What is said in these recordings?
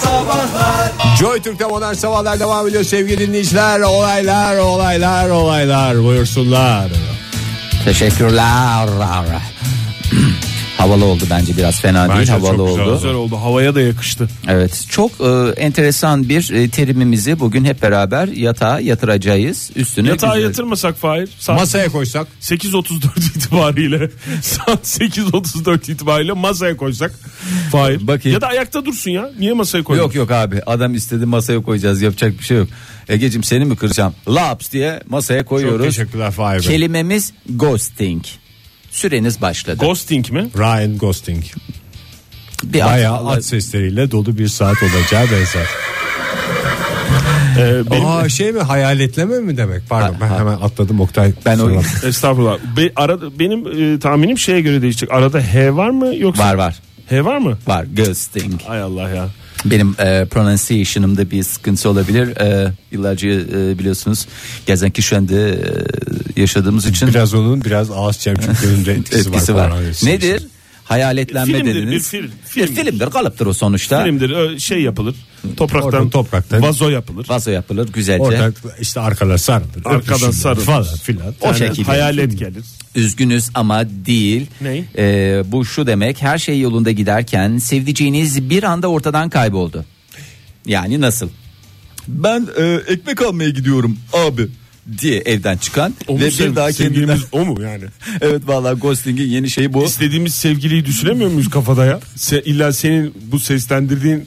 Sabahlar Joy Türk'te modern sabahlar devam ediyor sevgili dinleyiciler. Olaylar, olaylar, olaylar buyursunlar. Teşekkürler. Havalı oldu bence biraz fena değil Bence havalı çok güzel oldu. Güzel oldu. Havaya da yakıştı. Evet çok e, enteresan bir e, terimimizi bugün hep beraber yatağa yatıracağız. Üstüne Yatağa güzel- yatırmasak Fahir. Saat Masaya koysak 8.34 itibariyle saat 8.34 itibariyle masaya koysak Fahir. Bakayım. Ya da ayakta dursun ya. Niye masaya koydun? Yok yok abi adam istedi masaya koyacağız yapacak bir şey yok. Egeciğim seni mi kıracağım? Laps diye masaya çok koyuyoruz. teşekkürler Fahir Bey. Kelimemiz ghosting. Süreniz başladı. Ghosting mi? Ryan Gosling. bir Bayağı at sesleriyle dolu bir saat olacağı benzer. Ee, benim, Aa şey mi hayaletleme mi demek? Pardon ben hemen atladım Oktay. Ben o- Kusura bakma. estağfurullah. Be- arada, benim e, tahminim şeye göre değişecek. Arada H var mı yoksa? Var var H var mı? var ghosting. Ay Allah ya. Benim e, pronunciation'ımda bir sıkıntı olabilir. E, yıllarca e, biliyorsunuz Gaziantep'te e, yaşadığımız için Biraz onun biraz ağız çemçüklerinde etkisi, etkisi var. koronavirüsün. Nedir? Hayaletlenme Filmdir, dediniz. bir film, Bir filmdir. filmdir, kalıptır o sonuçta. Filmdir ö- şey yapılır. Topraktan, Oradan topraktan. vazo yapılır. Vazo yapılır güzelce. Orada işte arkadan sarılır. Arkadan öpüşürler sarılır. Falan filan. O şekilde. Hayalet gelir. Üzgünüz ama değil. Ney? E, bu şu demek her şey yolunda giderken sevdiceğiniz bir anda ortadan kayboldu. Yani nasıl? Ben e, ekmek almaya gidiyorum abi diye evden çıkan O mu sev- sevgilimiz o mu yani? Evet vallahi ghosting'in yeni şeyi bu. İstediğimiz sevgiliyi düşünemiyor muyuz kafada ya? Se, illa senin bu seslendirdiğin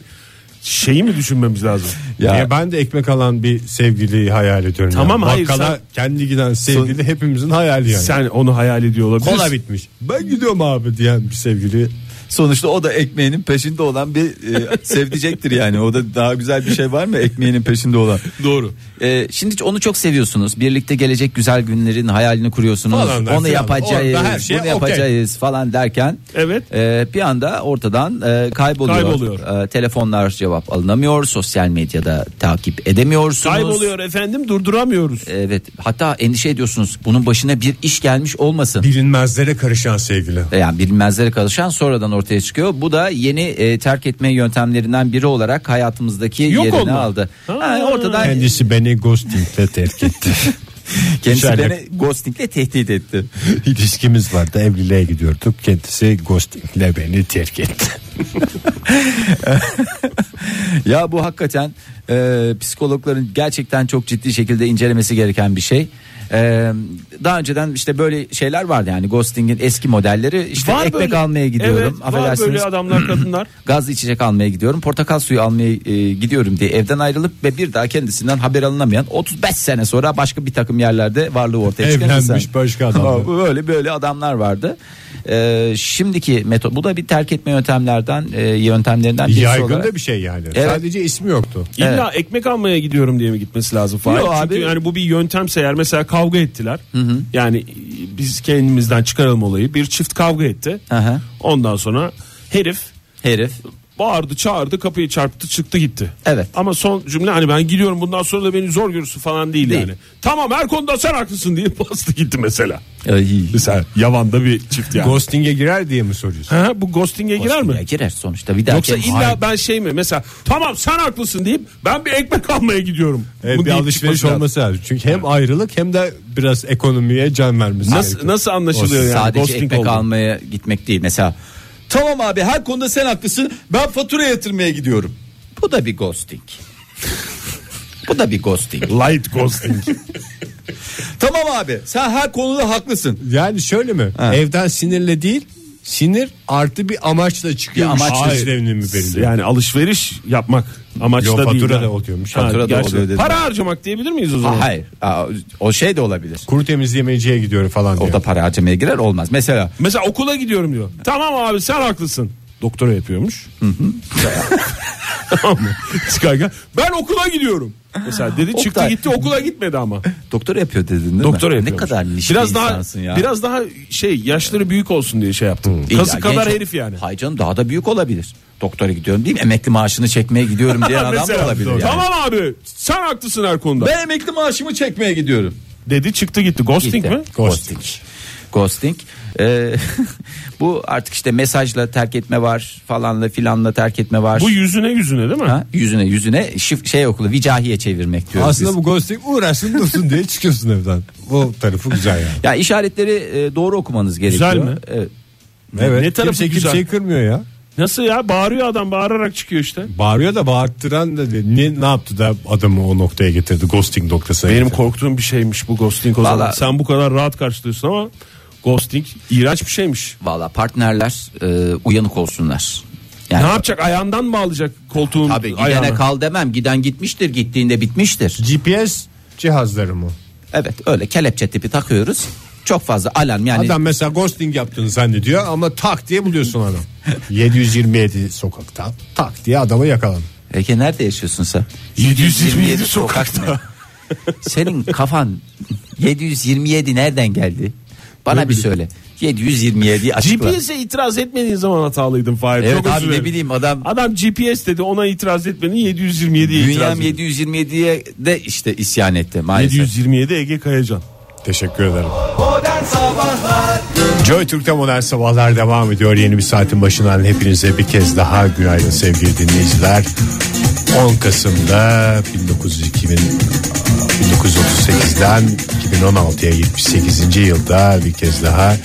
şeyi mi düşünmemiz lazım? Ya. Niye ben de ekmek alan bir sevgiliyi hayal ediyorum. Tamam, ya. hayır, Bakkala sen- kendi giden sevgili hepimizin hayali yani. Sen onu hayal ediyor olabilirsin. Kola bitmiş. Ben gidiyorum abi diyen bir sevgili. Sonuçta o da ekmeğinin peşinde olan bir e, sevdicektir yani. O da daha güzel bir şey var mı ekmeğinin peşinde olan? Doğru. E, şimdi onu çok seviyorsunuz. Birlikte gelecek güzel günlerin hayalini kuruyorsunuz. Falan der, onu filan. yapacağız, Orada her şey bunu okey. yapacağız falan derken Evet. e, bir anda ortadan e, kayboluyor. Kayboluyor. E, telefonlar cevap alınamıyor. Sosyal medyada takip edemiyorsunuz. Kayboluyor efendim durduramıyoruz. Evet. Hatta endişe ediyorsunuz. Bunun başına bir iş gelmiş olmasın. Bilinmezlere karışan sevgili. E, yani bilinmezlere karışan sonradan ortaya çıkıyor. Bu da yeni e, terk etme yöntemlerinden biri olarak hayatımızdaki Yok yerini olma. aldı. Ha. Ha, ortadan Kendisi beni ghostingle terk etti. kendisi Sherlock. beni ghostingle tehdit etti. İlişkimiz vardı evliliğe gidiyorduk. Kendisi ghostingle beni terk etti. Ya bu hakikaten e, psikologların gerçekten çok ciddi şekilde incelemesi gereken bir şey. E, daha önceden işte böyle şeyler vardı yani ghosting'in eski modelleri işte Var ekmek böyle- almaya gidiyorum. Evet, var affedersiniz. böyle adamlar kadınlar. gazlı içecek almaya gidiyorum portakal suyu almaya e, gidiyorum diye evden ayrılıp ve bir daha kendisinden haber alınamayan 35 sene sonra başka bir takım yerlerde varlığı ortaya çıkan insan. Evlenmiş başka adam. Ha, Böyle böyle adamlar vardı. E, şimdiki metot bu da bir terk etme yöntemlerden e, yöntemlerinden birisi Yaygın olarak. da bir şey yani. Evet. Sadece ismi yoktu. İlla ekmek almaya gidiyorum diye mi gitmesi lazım Fahir? Yok Çünkü abi. yani bu bir yöntemse eğer mesela kavga ettiler. Yani e, biz kendimizden çıkaralım olayı. Bir çift kavga etti. Hı hı. Ondan sonra herif Herif bağırdı çağırdı kapıyı çarptı çıktı gitti. Evet. Ama son cümle hani ben gidiyorum bundan sonra da beni zor görürsün falan değil, Değil. yani. Tamam her konuda sen haklısın diye bastı gitti mesela. Ay. Mesela yavanda bir çift yani. Ghosting'e girer diye mi soruyorsun? Ha, bu ghosting'e girer mi? Ya girer sonuçta bir daha Yoksa kendisi- illa ben şey mi mesela tamam sen haklısın deyip ben bir ekmek almaya gidiyorum. Evet, bir Bu deyip alışveriş çıkması lazım. olması lazım. Çünkü hem ayrılık hem de biraz ekonomiye can vermesi Nasıl, gerekiyor. nasıl anlaşılıyor yani? sadece Ghosting ekmek oldu. almaya gitmek değil mesela tamam abi her konuda sen haklısın ben fatura yatırmaya gidiyorum bu da bir ghosting bu da bir ghosting Light ghosting. tamam abi sen her konuda haklısın Yani şöyle mi? Ha. Evden sinirle değil, sinir artı bir amaçla çıkıyor. amaçla işlevini mi belirliyor? yani alışveriş yapmak amaçlı Yo, da değil. fatura yani. da oluyormuş. Ha, Fatura da gerçi. oluyor dedi. Para harcamak diyebilir miyiz o zaman? hayır Aa, o şey de olabilir Kuru temizlemeciye gidiyorum falan diyor. o da para harcamaya girer olmaz mesela Mesela okula gidiyorum diyor. Tamam abi sen haklısın. Doktora yapıyormuş. Tamam mı? Çıkarken, ben okula gidiyorum. Mesela dedi çıktı Oktay. gitti okula gitmedi ama. doktor yapıyor dedin değil mi? Doktora ne yapıyormuş. kadar niş bir biraz daha insansın ya biraz daha şey yaşları büyük olsun diye şey yaptım. İlla Kazı kadar genç- herif yani. Hayır canım daha da büyük olabilir. Doktora gidiyorum değil mi? Emekli maaşını çekmeye gidiyorum diyen adam da Mesela, olabilir yani. Tamam abi sen haklısın her konuda. Ben emekli maaşımı çekmeye gidiyorum. Dedi çıktı gitti. Ghosting mi? Ghosting. ghosting. E, bu artık işte mesajla terk etme var falanla filanla terk etme var. Bu yüzüne yüzüne değil mi? Ha, yüzüne yüzüne şif, şey okulu vicahiye çevirmek diyoruz Aslında biz. bu ghosting uğraşsın dursun diye çıkıyorsun evden. Bu tarafı güzel yani. Ya işaretleri e, doğru okumanız gerekiyor. E, mi? Evet. Evet. Ne tarafı kimse güzel? kimseyi kırmıyor ya. Nasıl ya bağırıyor adam bağırarak çıkıyor işte. Bağırıyor da bağırttıran da ne, ne yaptı da adamı o noktaya getirdi ghosting noktasına. Benim getirdi. korktuğum bir şeymiş bu ghosting o zaman. Vallahi- Sen bu kadar rahat karşılıyorsun ama ghosting iğrenç bir şeymiş. Valla partnerler e, uyanık olsunlar. Yani Ne yapacak ayağından mı alacak koltuğun Tabii gidene ayağına? kal demem. Giden gitmiştir, gittiğinde bitmiştir. GPS cihazları mı? Evet, öyle kelepçe tipi takıyoruz. Çok fazla alarm Hani- yani Adam mesela ghosting yaptığını zannediyor ama tak diye buluyorsun adam. 727 sokakta tak diye adamı yakaladın. Ege nerede yaşıyorsun sen? 727 sokakta. Senin kafan 727 nereden geldi? Bana bir söyle. 727 açıkla. GPS'e itiraz etmediğin zaman hatalıydın Fahir. Evet Çok abi, özür ne dilerim. bileyim, adam- Adam GPS dedi ona itiraz etmedin 727'ye itiraz Dünyam etmedin. 727'ye de işte isyan etti maalesef. 727 Ege Kayacan. Teşekkür ederim. Joy Türk'te modern sabahlar devam ediyor. Yeni bir saatin başından hepinize bir kez daha günaydın sevgili dinleyiciler. 10 Kasım'da 1902 1938'den 2016'ya 78. yılda bir kez daha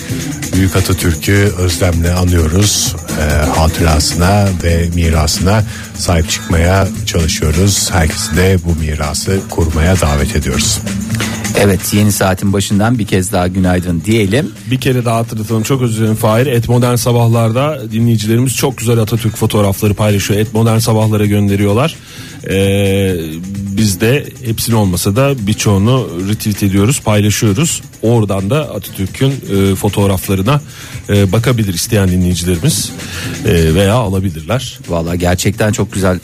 Büyük Atatürk'ü özlemle anıyoruz. Ee, hatırasına ve mirasına sahip çıkmaya çalışıyoruz. Herkesi de bu mirası korumaya davet ediyoruz. Evet yeni saatin başından bir kez daha günaydın diyelim. Bir kere daha hatırlatalım çok özür dilerim Fahir. Et Modern Sabahlar'da dinleyicilerimiz çok güzel Atatürk fotoğrafları paylaşıyor. Et Modern Sabahlar'a gönderiyorlar. Ee, biz de hepsini olmasa da birçoğunu retweet ediyoruz, paylaşıyoruz. Oradan da Atatürk'ün e, fotoğraflarına e, bakabilir isteyen dinleyicilerimiz e, veya alabilirler. Valla gerçekten çok güzel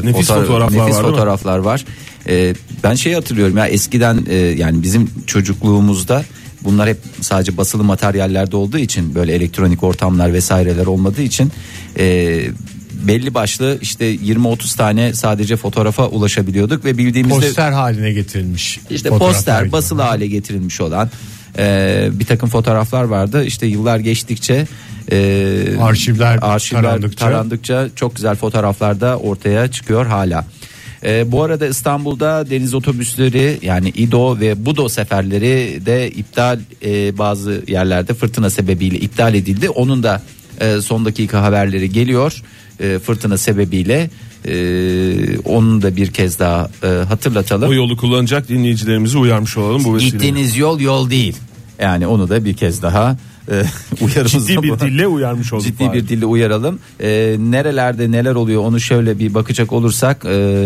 e, nefis fotoğraflar nefis var, değil mi? fotoğraflar var. E, ben şey hatırlıyorum ya eskiden e, yani bizim çocukluğumuzda bunlar hep sadece basılı materyallerde olduğu için böyle elektronik ortamlar vesaireler olmadığı için e, belli başlı işte 20-30 tane sadece fotoğrafa ulaşabiliyorduk ve bildiğimizde Poster haline getirilmiş. işte fotoğraflar poster gibi. basılı hale getirilmiş olan e, bir takım fotoğraflar vardı. İşte yıllar geçtikçe e, Arşivler tarandıkça- tarandıkça. çok güzel fotoğraflar da ortaya çıkıyor hala. E, bu arada İstanbul'da deniz otobüsleri yani İdo ve Budo seferleri de iptal e, bazı yerlerde fırtına sebebiyle iptal edildi. Onun da e, son dakika haberleri geliyor E, fırtına sebebiyle. E, onu da bir kez daha e, hatırlatalım. O yolu kullanacak dinleyicilerimizi uyarmış olalım bu vesileyle. Gittiğiniz yol yol değil. Yani onu da bir kez daha e, uyarımızda Ciddi bir bulun- dille uyarmış olduk. Ciddi Fahir. bir dille uyaralım. E, nerelerde neler oluyor onu şöyle bir bakacak olursak e,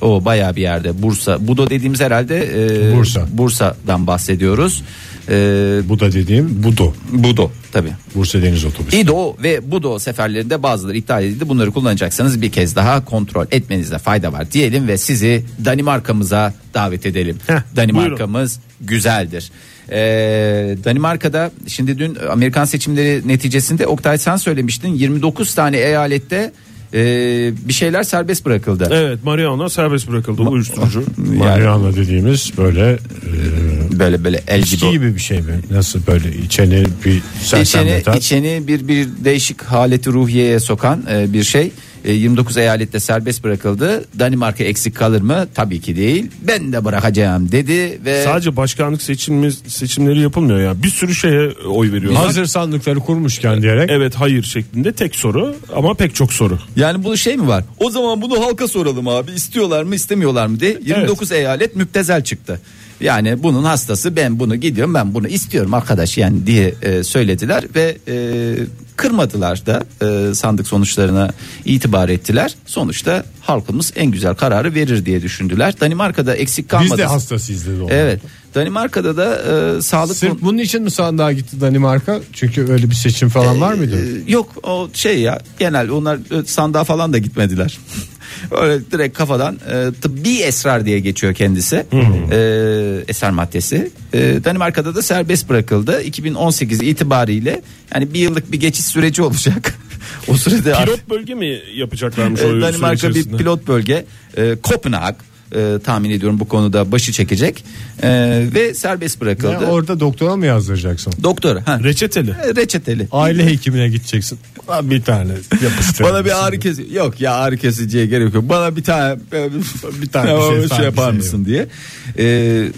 o bayağı bir yerde Bursa. Budo dediğimiz herhalde e, Bursa. Bursa'dan bahsediyoruz. E, Bu da dediğim Budo. Budo tabii. Bursa Deniz Otobüsü. İdo ve Budo seferlerinde bazıları iptal edildi. Bunları kullanacaksanız bir kez daha kontrol etmenizde fayda var diyelim ve sizi Danimarka'mıza davet edelim. Danimarka'mız güzeldir. Ee, Danimarka'da şimdi dün Amerikan seçimleri neticesinde Oktay sen söylemiştin 29 tane eyalette e, bir şeyler serbest bırakıldı. Evet Mariana serbest bırakıldı uyuşturucu. Yani Mariana dediğimiz böyle e, böyle böyle el içki gibi. gibi bir şey mi? Nasıl böyle içeni bir İçeni, sersemleten. içeni bir bir değişik haleti ruhiyeye sokan e, bir şey. E, 29 eyalette serbest bırakıldı. Danimarka eksik kalır mı? Tabii ki değil. Ben de bırakacağım dedi ve Sadece başkanlık seçimi seçimleri yapılmıyor ya. Bir sürü şeye oy veriyorlar. Hazır sandıkları kurmuşken diyerek. Evet hayır şeklinde tek soru ama pek çok soru. yani bu şey mi var? O zaman bunu halka soralım abi. İstiyorlar mı, istemiyorlar mı diye 29 eyalet müptezel çıktı. Yani bunun hastası ben bunu gidiyorum ben bunu istiyorum arkadaş yani diye e, söylediler ve e, kırmadılar da e, sandık sonuçlarına itibar ettiler. Sonuçta halkımız en güzel kararı verir diye düşündüler. Danimarka'da eksik kalmadı. Biz de hastasıyız dedi. onlar. Evet. Danimarka'da da e, sağlık Sırf bunun için mi sandığa gitti Danimarka? Çünkü öyle bir seçim falan var mıydı? Ee, Yok o şey ya genel onlar e, sandığa falan da gitmediler. Öyle direkt kafadan e, tıbbi esrar diye geçiyor kendisi. Ee, eser maddesi. Ee, Danimarka'da da serbest bırakıldı. 2018 itibariyle yani bir yıllık bir geçiş süreci olacak. o sürede Pilot bölge mi yapacaklarmış o e, süre Danimarka bir içerisinde? pilot bölge. E, Kopenhag, e, tahmin ediyorum bu konuda başı çekecek E, ve serbest Ya bırakıldı. orada doktora mı yazdıracaksın? Doktor ha, Reçeteli. e, reçeteli. Aile hekimine gideceksin. Lan bir tane yapıştır. Bana bir ağrı kesici yok ya ağrı kesiciye gerek yok. Bana bir tane e, bir tane bir şey, şey, tane bir yapar şey mısın diye. E,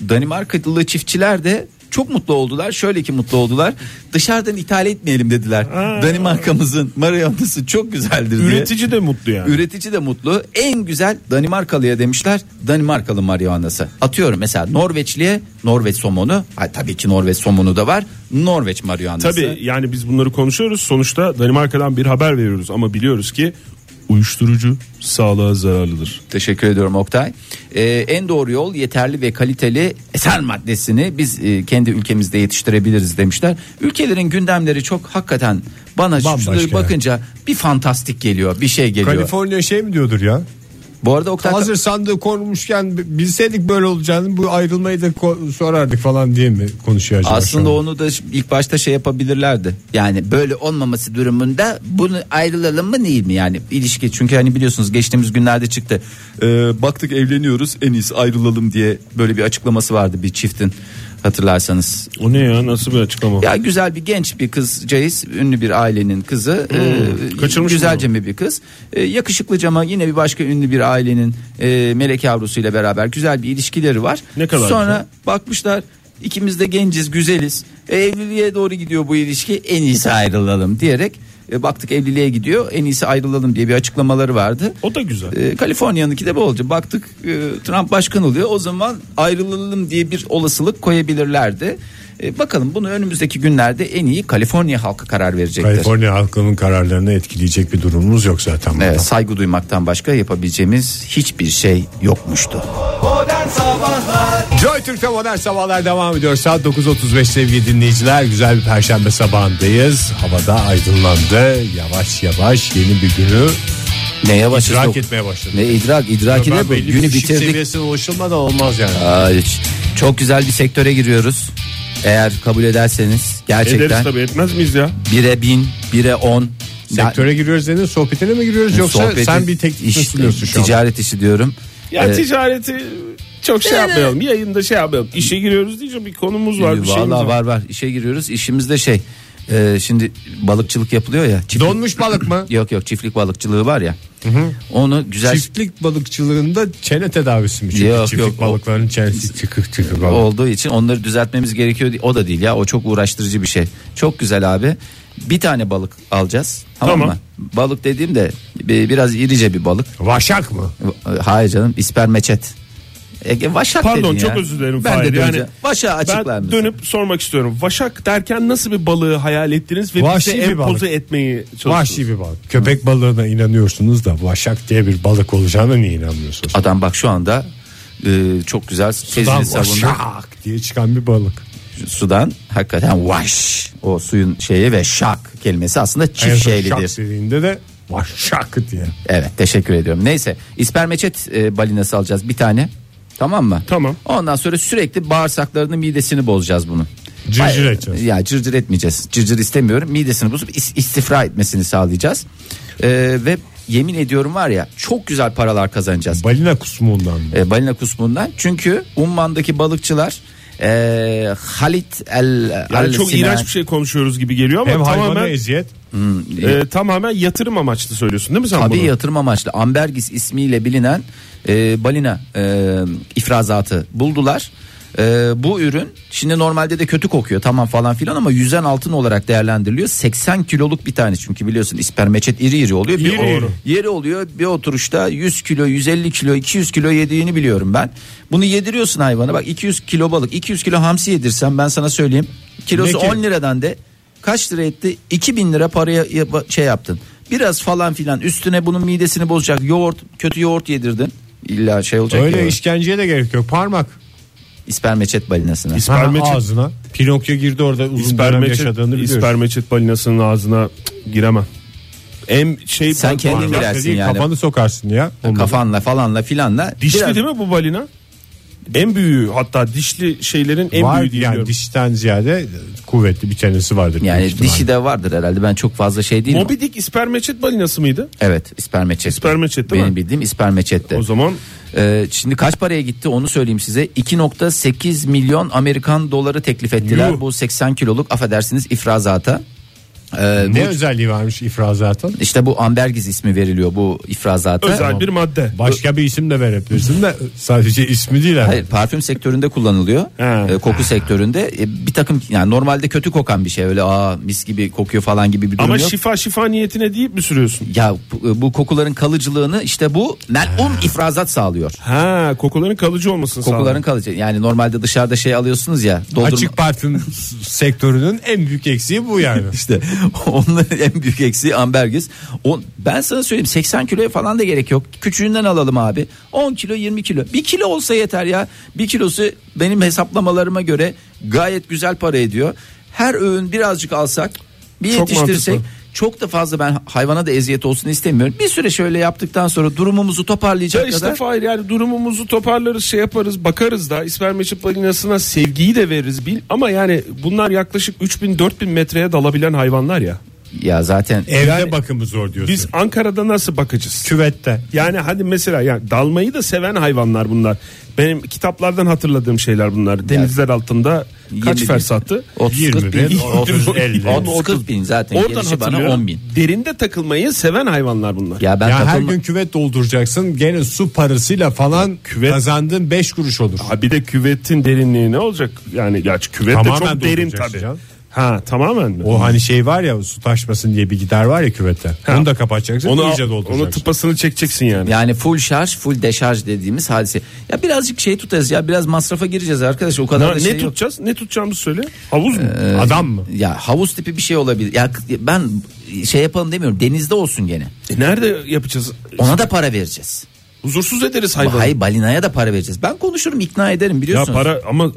Danimarkalı çiftçiler de çok mutlu oldular. Şöyle ki mutlu oldular. Dışarıdan ithal etmeyelim dediler. Danimarkamızın mariyonası çok güzeldir diye. Üretici de mutlu yani. Üretici de mutlu. En güzel Danimarkalı'ya demişler. Danimarkalı marihuanası. Atıyorum mesela Norveçli'ye Norveç somonu. Ay, tabii ki Norveç somonu da var. Norveç marihuanası. Tabii yani biz bunları konuşuyoruz. Sonuçta Danimarka'dan bir haber veriyoruz ama biliyoruz ki uyuşturucu sağlığa zararlıdır. Teşekkür ediyorum Oktay. Ee, en doğru yol yeterli ve kaliteli eser maddesini biz e, kendi ülkemizde yetiştirebiliriz demişler. Ülkelerin gündemleri çok hakikaten bana şu- Bambaşka. şunları bakınca bir fantastik geliyor, bir şey geliyor. Kaliforniya şey mi diyordur ya? Bu arada Oktay Hazır sandığı korumuşken bilseydik böyle olacağını bu ayrılmayı da ko- sorardık falan diye mi konuşuyor acaba? Aslında şu an? onu da ş- ilk başta şey yapabilirlerdi. Yani böyle olmaması durumunda bunu ayrılalım mı değil mi yani ilişki çünkü hani biliyorsunuz geçtiğimiz günlerde çıktı. Ee, baktık evleniyoruz en iyisi ayrılalım diye böyle bir açıklaması vardı bir çiftin hatırlarsanız. O ne ya nasıl bir açıklama? Ya güzel bir genç bir kızcağız, ünlü bir ailenin kızı. Ee, Hmm. kaçırmış güzelce mi bir kız? Ee, yakışıklı cama yine bir başka ünlü bir ailenin e, melek yavrusuyla beraber güzel bir ilişkileri var. Ne kadar Sonra güzel. bakmışlar ikimiz de genciz, güzeliz. E, evliliğe doğru gidiyor bu ilişki. En iyisi ayrılalım diyerek e, baktık evliliğe gidiyor. En iyisi ayrılalım diye bir açıklamaları vardı. O da güzel. E, Kaliforniya'nınki de bu olacak. Baktık e, Trump başkan oluyor. O zaman ayrılalım diye bir olasılık koyabilirlerdi. E, bakalım bunu önümüzdeki günlerde en iyi Kaliforniya halkı karar verecektir. Kaliforniya halkının kararlarını etkileyecek bir durumumuz yok zaten. bundan. Evet, saygı duymaktan başka yapabileceğimiz hiçbir şey yokmuştu. Joy Türk'te modern sabahlar devam ediyor. Saat 9.35 sevgili dinleyiciler. Güzel bir perşembe sabahındayız. Havada aydınlandı. Yavaş yavaş yeni bir günü Ne yavaş idrak yok. etmeye başladı. Ne idrak idrak Ben ile bu belli bir şey günü ışık bitirdik. seviyesine ulaşılmadan olmaz yani. Aa, hiç. Çok güzel bir sektöre giriyoruz. Eğer kabul ederseniz Ederiz gerçekten tabii etmez miyiz ya? bire bin bire on Sektöre giriyoruz dedin sohbetine mi giriyoruz yoksa Sohbeti- sen bir teklif iş- sunuyorsun şu an. Ticaret işi diyorum. Ya Ee, ticareti çok şey yapmayalım. Yayında şey yapmayalım. İşe giriyoruz diyeceğim bir konumuz var bir şeyimiz Ee, Vallahi var. var var işe giriyoruz işimizde şey e, şimdi balıkçılık yapılıyor ya çiftlik, Donmuş balık mı? yok yok çiftlik balıkçılığı var ya onu güzel Çiftlik balıkçılığında çene tedavisi mi? Çünkü Yok, çiftlik yok. balıkların çenesi çıkık çıkık. balık. olduğu için onları düzeltmemiz gerekiyor o da değil ya o çok uğraştırıcı bir şey çok güzel abi bir tane balık alacağız tamam, Tamam. mı balık dediğim de bi- biraz irice bir balık Ee, Vaşak mı? hayır canım ispermeçet Ege vaşak Pardon dedin çok ya. özür dilerim. ben Fahir. de dönünce, Yani vaşağı açıklar Ben mısın? dönüp sormak istiyorum. Vaşak derken nasıl bir balığı hayal ettiniz ve Vahşi bize bir empoze balık. etmeyi çalıştınız? Vahşi bir balık. Köpek balığına inanıyorsunuz da vaşak diye bir balık olacağına niye inanmıyorsunuz? adam bak şu anda e, çok güzel Sudan tezini savundu vaşak diye çıkan bir balık. sudan hakikaten vaş o suyun şeyi ve şak kelimesi aslında En çift son şak şeylidir. dediğinde de vaşak diye. Evet teşekkür ediyorum. Neyse ispermeçet e, balinası alacağız bir tane. Tamam mı? Tamam. Ondan sonra sürekli bağırsaklarını midesini bozacağız bunun. Cırcır Hayır, edeceğiz. Ya cırcır etmeyeceğiz. Cırcır istemiyorum. Midesini bozup is- istifra etmesini sağlayacağız. E, ve yemin ediyorum var ya çok güzel paralar kazanacağız. Balina kusumundan mı? e, balina kusmundan. Çünkü Umman'daki balıkçılar e, Halit el Yani çok Al-Sinan- iğrenç bir şey konuşuyoruz gibi geliyor E, ama Hem hayvana tamamen eziyet e, tamamen yatırım amaçlı söylüyorsun değil mi sen Tabii bunu? yatırım amaçlı Ambergis ismiyle bilinen e, balina e, ifrazatı buldular. E, bu ürün şimdi normalde de kötü kokuyor tamam falan filan ama yüzen altın olarak değerlendiriliyor. 80 kiloluk bir tane çünkü biliyorsun ispermeçet iri iri oluyor. Bir İri iri. Yeri oluyor bir oturuşta 100 kilo 150 kilo 200 kilo yediğini biliyorum ben. Bunu yediriyorsun hayvana bak 200 kilo balık 200 kilo hamsi yedirsen ben sana söyleyeyim. Kilosu Peki. 10 liradan de kaç lira etti? 2000 lira paraya yap- şey yaptın. Biraz falan filan üstüne bunun midesini bozacak yoğurt, kötü yoğurt yedirdin. İlla şey olacak öyle ya. işkenceye de gerek yok. Parmak. İspermeçet balinasına. Ha, İspermeçet, ağzına. Pinokyo girdi orada uzun dönem ispermeçet, yaşadığını biliyoruz. ispermeçet balinasının ağzına cık, giremem. Hem şey Sen kendin Parmak- Parmak girersin dediğin yani. Kafanı sokarsın ya. Kafanla falanla filanla. Dişli Biraz- değil mi bu balina? En büyüğü hatta dişli şeylerin en var büyüğü diye yani biliyorum. dişten ziyade e, kuvvetli bir tanesi vardır. büyük Yani ihtimalle. dişi de vardır herhalde ben çok fazla şey değilim. Moby Dick ispermeçet balinası mıydı? Evet ispermeçet. İspermeçet değil Benim mi? bildiğim ispermeçette. O zaman Ee, şimdi kaç paraya gitti onu söyleyeyim size. 2.8 milyon Amerikan doları teklif ettiler. Yuh. Bu 80 kiloluk affedersiniz ifrazata. Ee, Ne özelliği varmış ifrazatın? işte bu ambergiz ismi veriliyor bu ifrazata. Özel bir madde. Başka bir isim de verebilirsin de sadece ismi değil abi. Hayır, parfüm sektöründe kullanılıyor. He. Ee, koku sektöründe E, bir takım yani normalde kötü kokan bir şey öyle aa mis gibi kokuyor falan gibi bir durum Ama yok. şifa şifa niyetine deyip mi sürüyorsun? ya bu, bu kokuların kalıcılığını işte bu melun ifrazat sağlıyor. Ha kokuların kalıcı olmasını Kokuların sağlar. kalıcı. Yani normalde dışarıda şey alıyorsunuz ya doldurma. Açık parfüm sektörünün en büyük eksiği bu yani. İşte onların en büyük eksiği ambergiz. On, ben sana söyleyeyim 80 kiloya falan da gerek yok. Küçüğünden alalım abi. 10 kilo 20 kilo. 1 kilo olsa yeter ya. 1 kilosu benim hesaplamalarıma göre gayet güzel para ediyor. Her öğün birazcık alsak bir Çok yetiştirsek mantıklı. çok da fazla ben hayvana da eziyet olsun istemiyorum. Bir süre şöyle yaptıktan sonra durumumuzu toparlayacak Ya işte kadar. Fahir yani durumumuzu toparlarız şey yaparız bakarız da ispermeçi planinasına sevgiyi de veririz bil ama yani bunlar yaklaşık 3000-4000 metreye dalabilen hayvanlar ya. Ya zaten Evde bakımı zor diyorsun. Biz Ankara'da nasıl bakacağız? küvette. Yani hadi mesela yani dalmayı da seven hayvanlar bunlar. Benim kitaplardan hatırladığım şeyler bunlar. Denizler altında kaç 20 fersattı? 30 40 20 bin. bin, 30 50. 30 40 bin zaten Oradan gelişi bana hatırlıyorum. 10 bin. Derinde takılmayı seven hayvanlar bunlar. Ya ben ya her takılma- gün küvet dolduracaksın. Gene su parasıyla falan Küvet- kazandığın 5 kuruş olur. Ha bir de küvetin derinliği ne olacak? Yani gerçi küvet Tamamen de çok derin dolduracaksın tabii. canım. Ha tamamen mi? O hani şey var ya su taşmasın diye bir gider var ya küvette. Ha. Onu da kapatacaksın. onu, iyice dolduracaksın. onu tıpasını çekeceksin yani. Yani full şarj, full deşarj dediğimiz hadise. Ya birazcık şey tutacağız ya biraz masrafa gireceğiz arkadaş. O kadar Ha, da ne şey yok. Ee, tutacağız? Ne tutacağımızı söyle. Havuz mu? Adam mı? Ya havuz tipi bir şey olabilir. Ya ben şey yapalım demiyorum. Denizde olsun gene. E nerede yapacağız? Ona da para vereceğiz. Huzursuz ederiz hayvanı. Hayır balinaya da para vereceğiz. Ben konuşurum ikna ederim Ya biliyorsunuz. para ama a-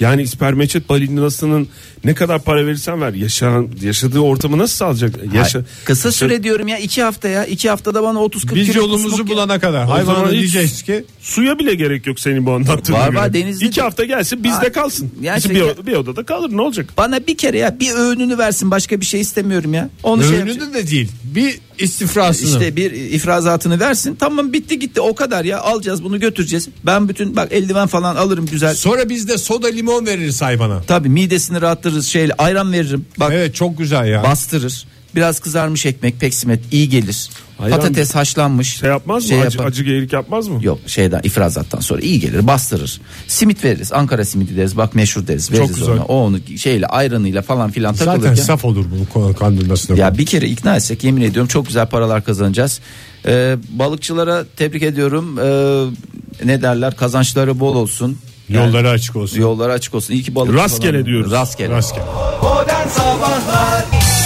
yani ispermeçet balinasının ne kadar para verirsen ver yaşayan yaşadığı ortamı nasıl sağlayacak? Hayır, Yaşa, Kısa yaşa- süre diyorum ya iki hafta ya. iki haftada bana 30-40 Biz kilo yolumuzu kusmuk ya. bulana kadar O zaman hayvana hiç diyeceğiz ki Suya bile gerek yok senin bu anlattığın. Var var, denizde İki de- hafta gelsin bizde Ha, kalsın. yani Bizim şey- bir, bir odada kalır ne olacak? Bana bir kere ya bir öğününü versin başka bir şey istemiyorum ya. Onu şey yapacağım. önünü de değil. Bir istifrasını. İşte bir ifrazatını versin. Tamam bitti gitti o kadar ya. Alacağız bunu götüreceğiz. Ben bütün bak eldiven falan alırım güzel. Sonra biz de soda limon veririz hayvana. Tabii midesini rahatlarız şeyle ayran veririm. Bak Evet çok güzel ya. bastırır. Biraz kızarmış ekmek peksimet iyi gelir. Ayran- Patates haşlanmış. Şey yapmaz mı? acı, yapar- acı geyirik yapmaz mı? Yok şeyden ifrazattan sonra iyi gelir bastırır. Simit veririz. Ankara simidi deriz. Bak meşhur deriz. Veririz güzel. ona. O onu şeyle ayranıyla falan filan Zaten takılırken. saf olur bu konu kandırmasına. Ya bir kere ikna etsek yemin ediyorum çok güzel paralar kazanacağız. Ee, balıkçılara tebrik ediyorum. Ee, ne derler kazançları bol olsun. Yani Yolları açık olsun. yolları açık olsun. İyi ki balık Rastgele falan- diyoruz. Rastgele. Rastgele.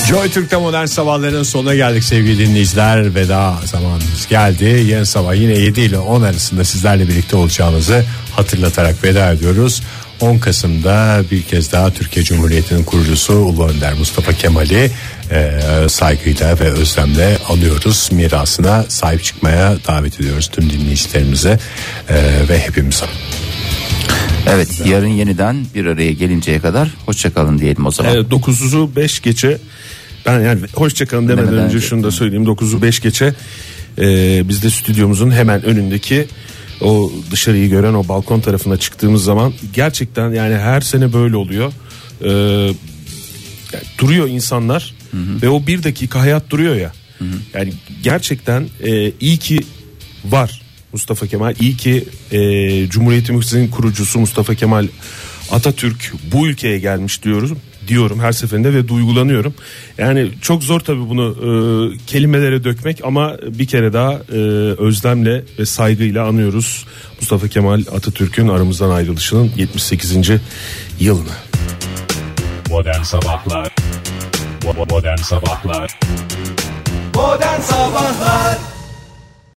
Joy Türk'te modern sabahların sonuna geldik sevgili dinleyiciler. Veda zamanımız geldi. Yarın sabah yine 7 ile 10 arasında sizlerle birlikte olacağımızı hatırlatarak veda ediyoruz. 10 Kasım'da bir kez daha Türkiye Cumhuriyeti'nin kurucusu Ulu Önder Mustafa Kemal'i e, saygıyla ve özlemle anıyoruz. Mirasına sahip çıkmaya davet ediyoruz tüm dinleyicilerimize e, ve hepimize. Evet yarın yeniden bir araya gelinceye kadar hoşçakalın diyelim o zaman. Evet, 9'u 5 E, geçe ben yani hoşçakalın demeden Demeden önce önce. şunu da söyleyeyim 9'u 5 geçe e, biz de stüdyomuzun hemen önündeki o dışarıyı gören o balkon tarafına çıktığımız zaman gerçekten yani her sene böyle oluyor. E, yani duruyor insanlar ve o bir dakika hayat duruyor ya. Yani gerçekten e, iyi ki var Mustafa Kemal. iyi ki e, Cumhuriyetimizin kurucusu Mustafa Kemal Atatürk bu ülkeye gelmiş diyoruz diyorum her seferinde ve duygulanıyorum. Yani çok zor tabii bunu e, kelimelere dökmek ama bir kere daha e, özlemle ve saygıyla anıyoruz Mustafa Kemal Atatürk'ün aramızdan ayrılışının 78. yılını. Modern Sabahlar Bo- Modern Sabahlar Modern Sabahlar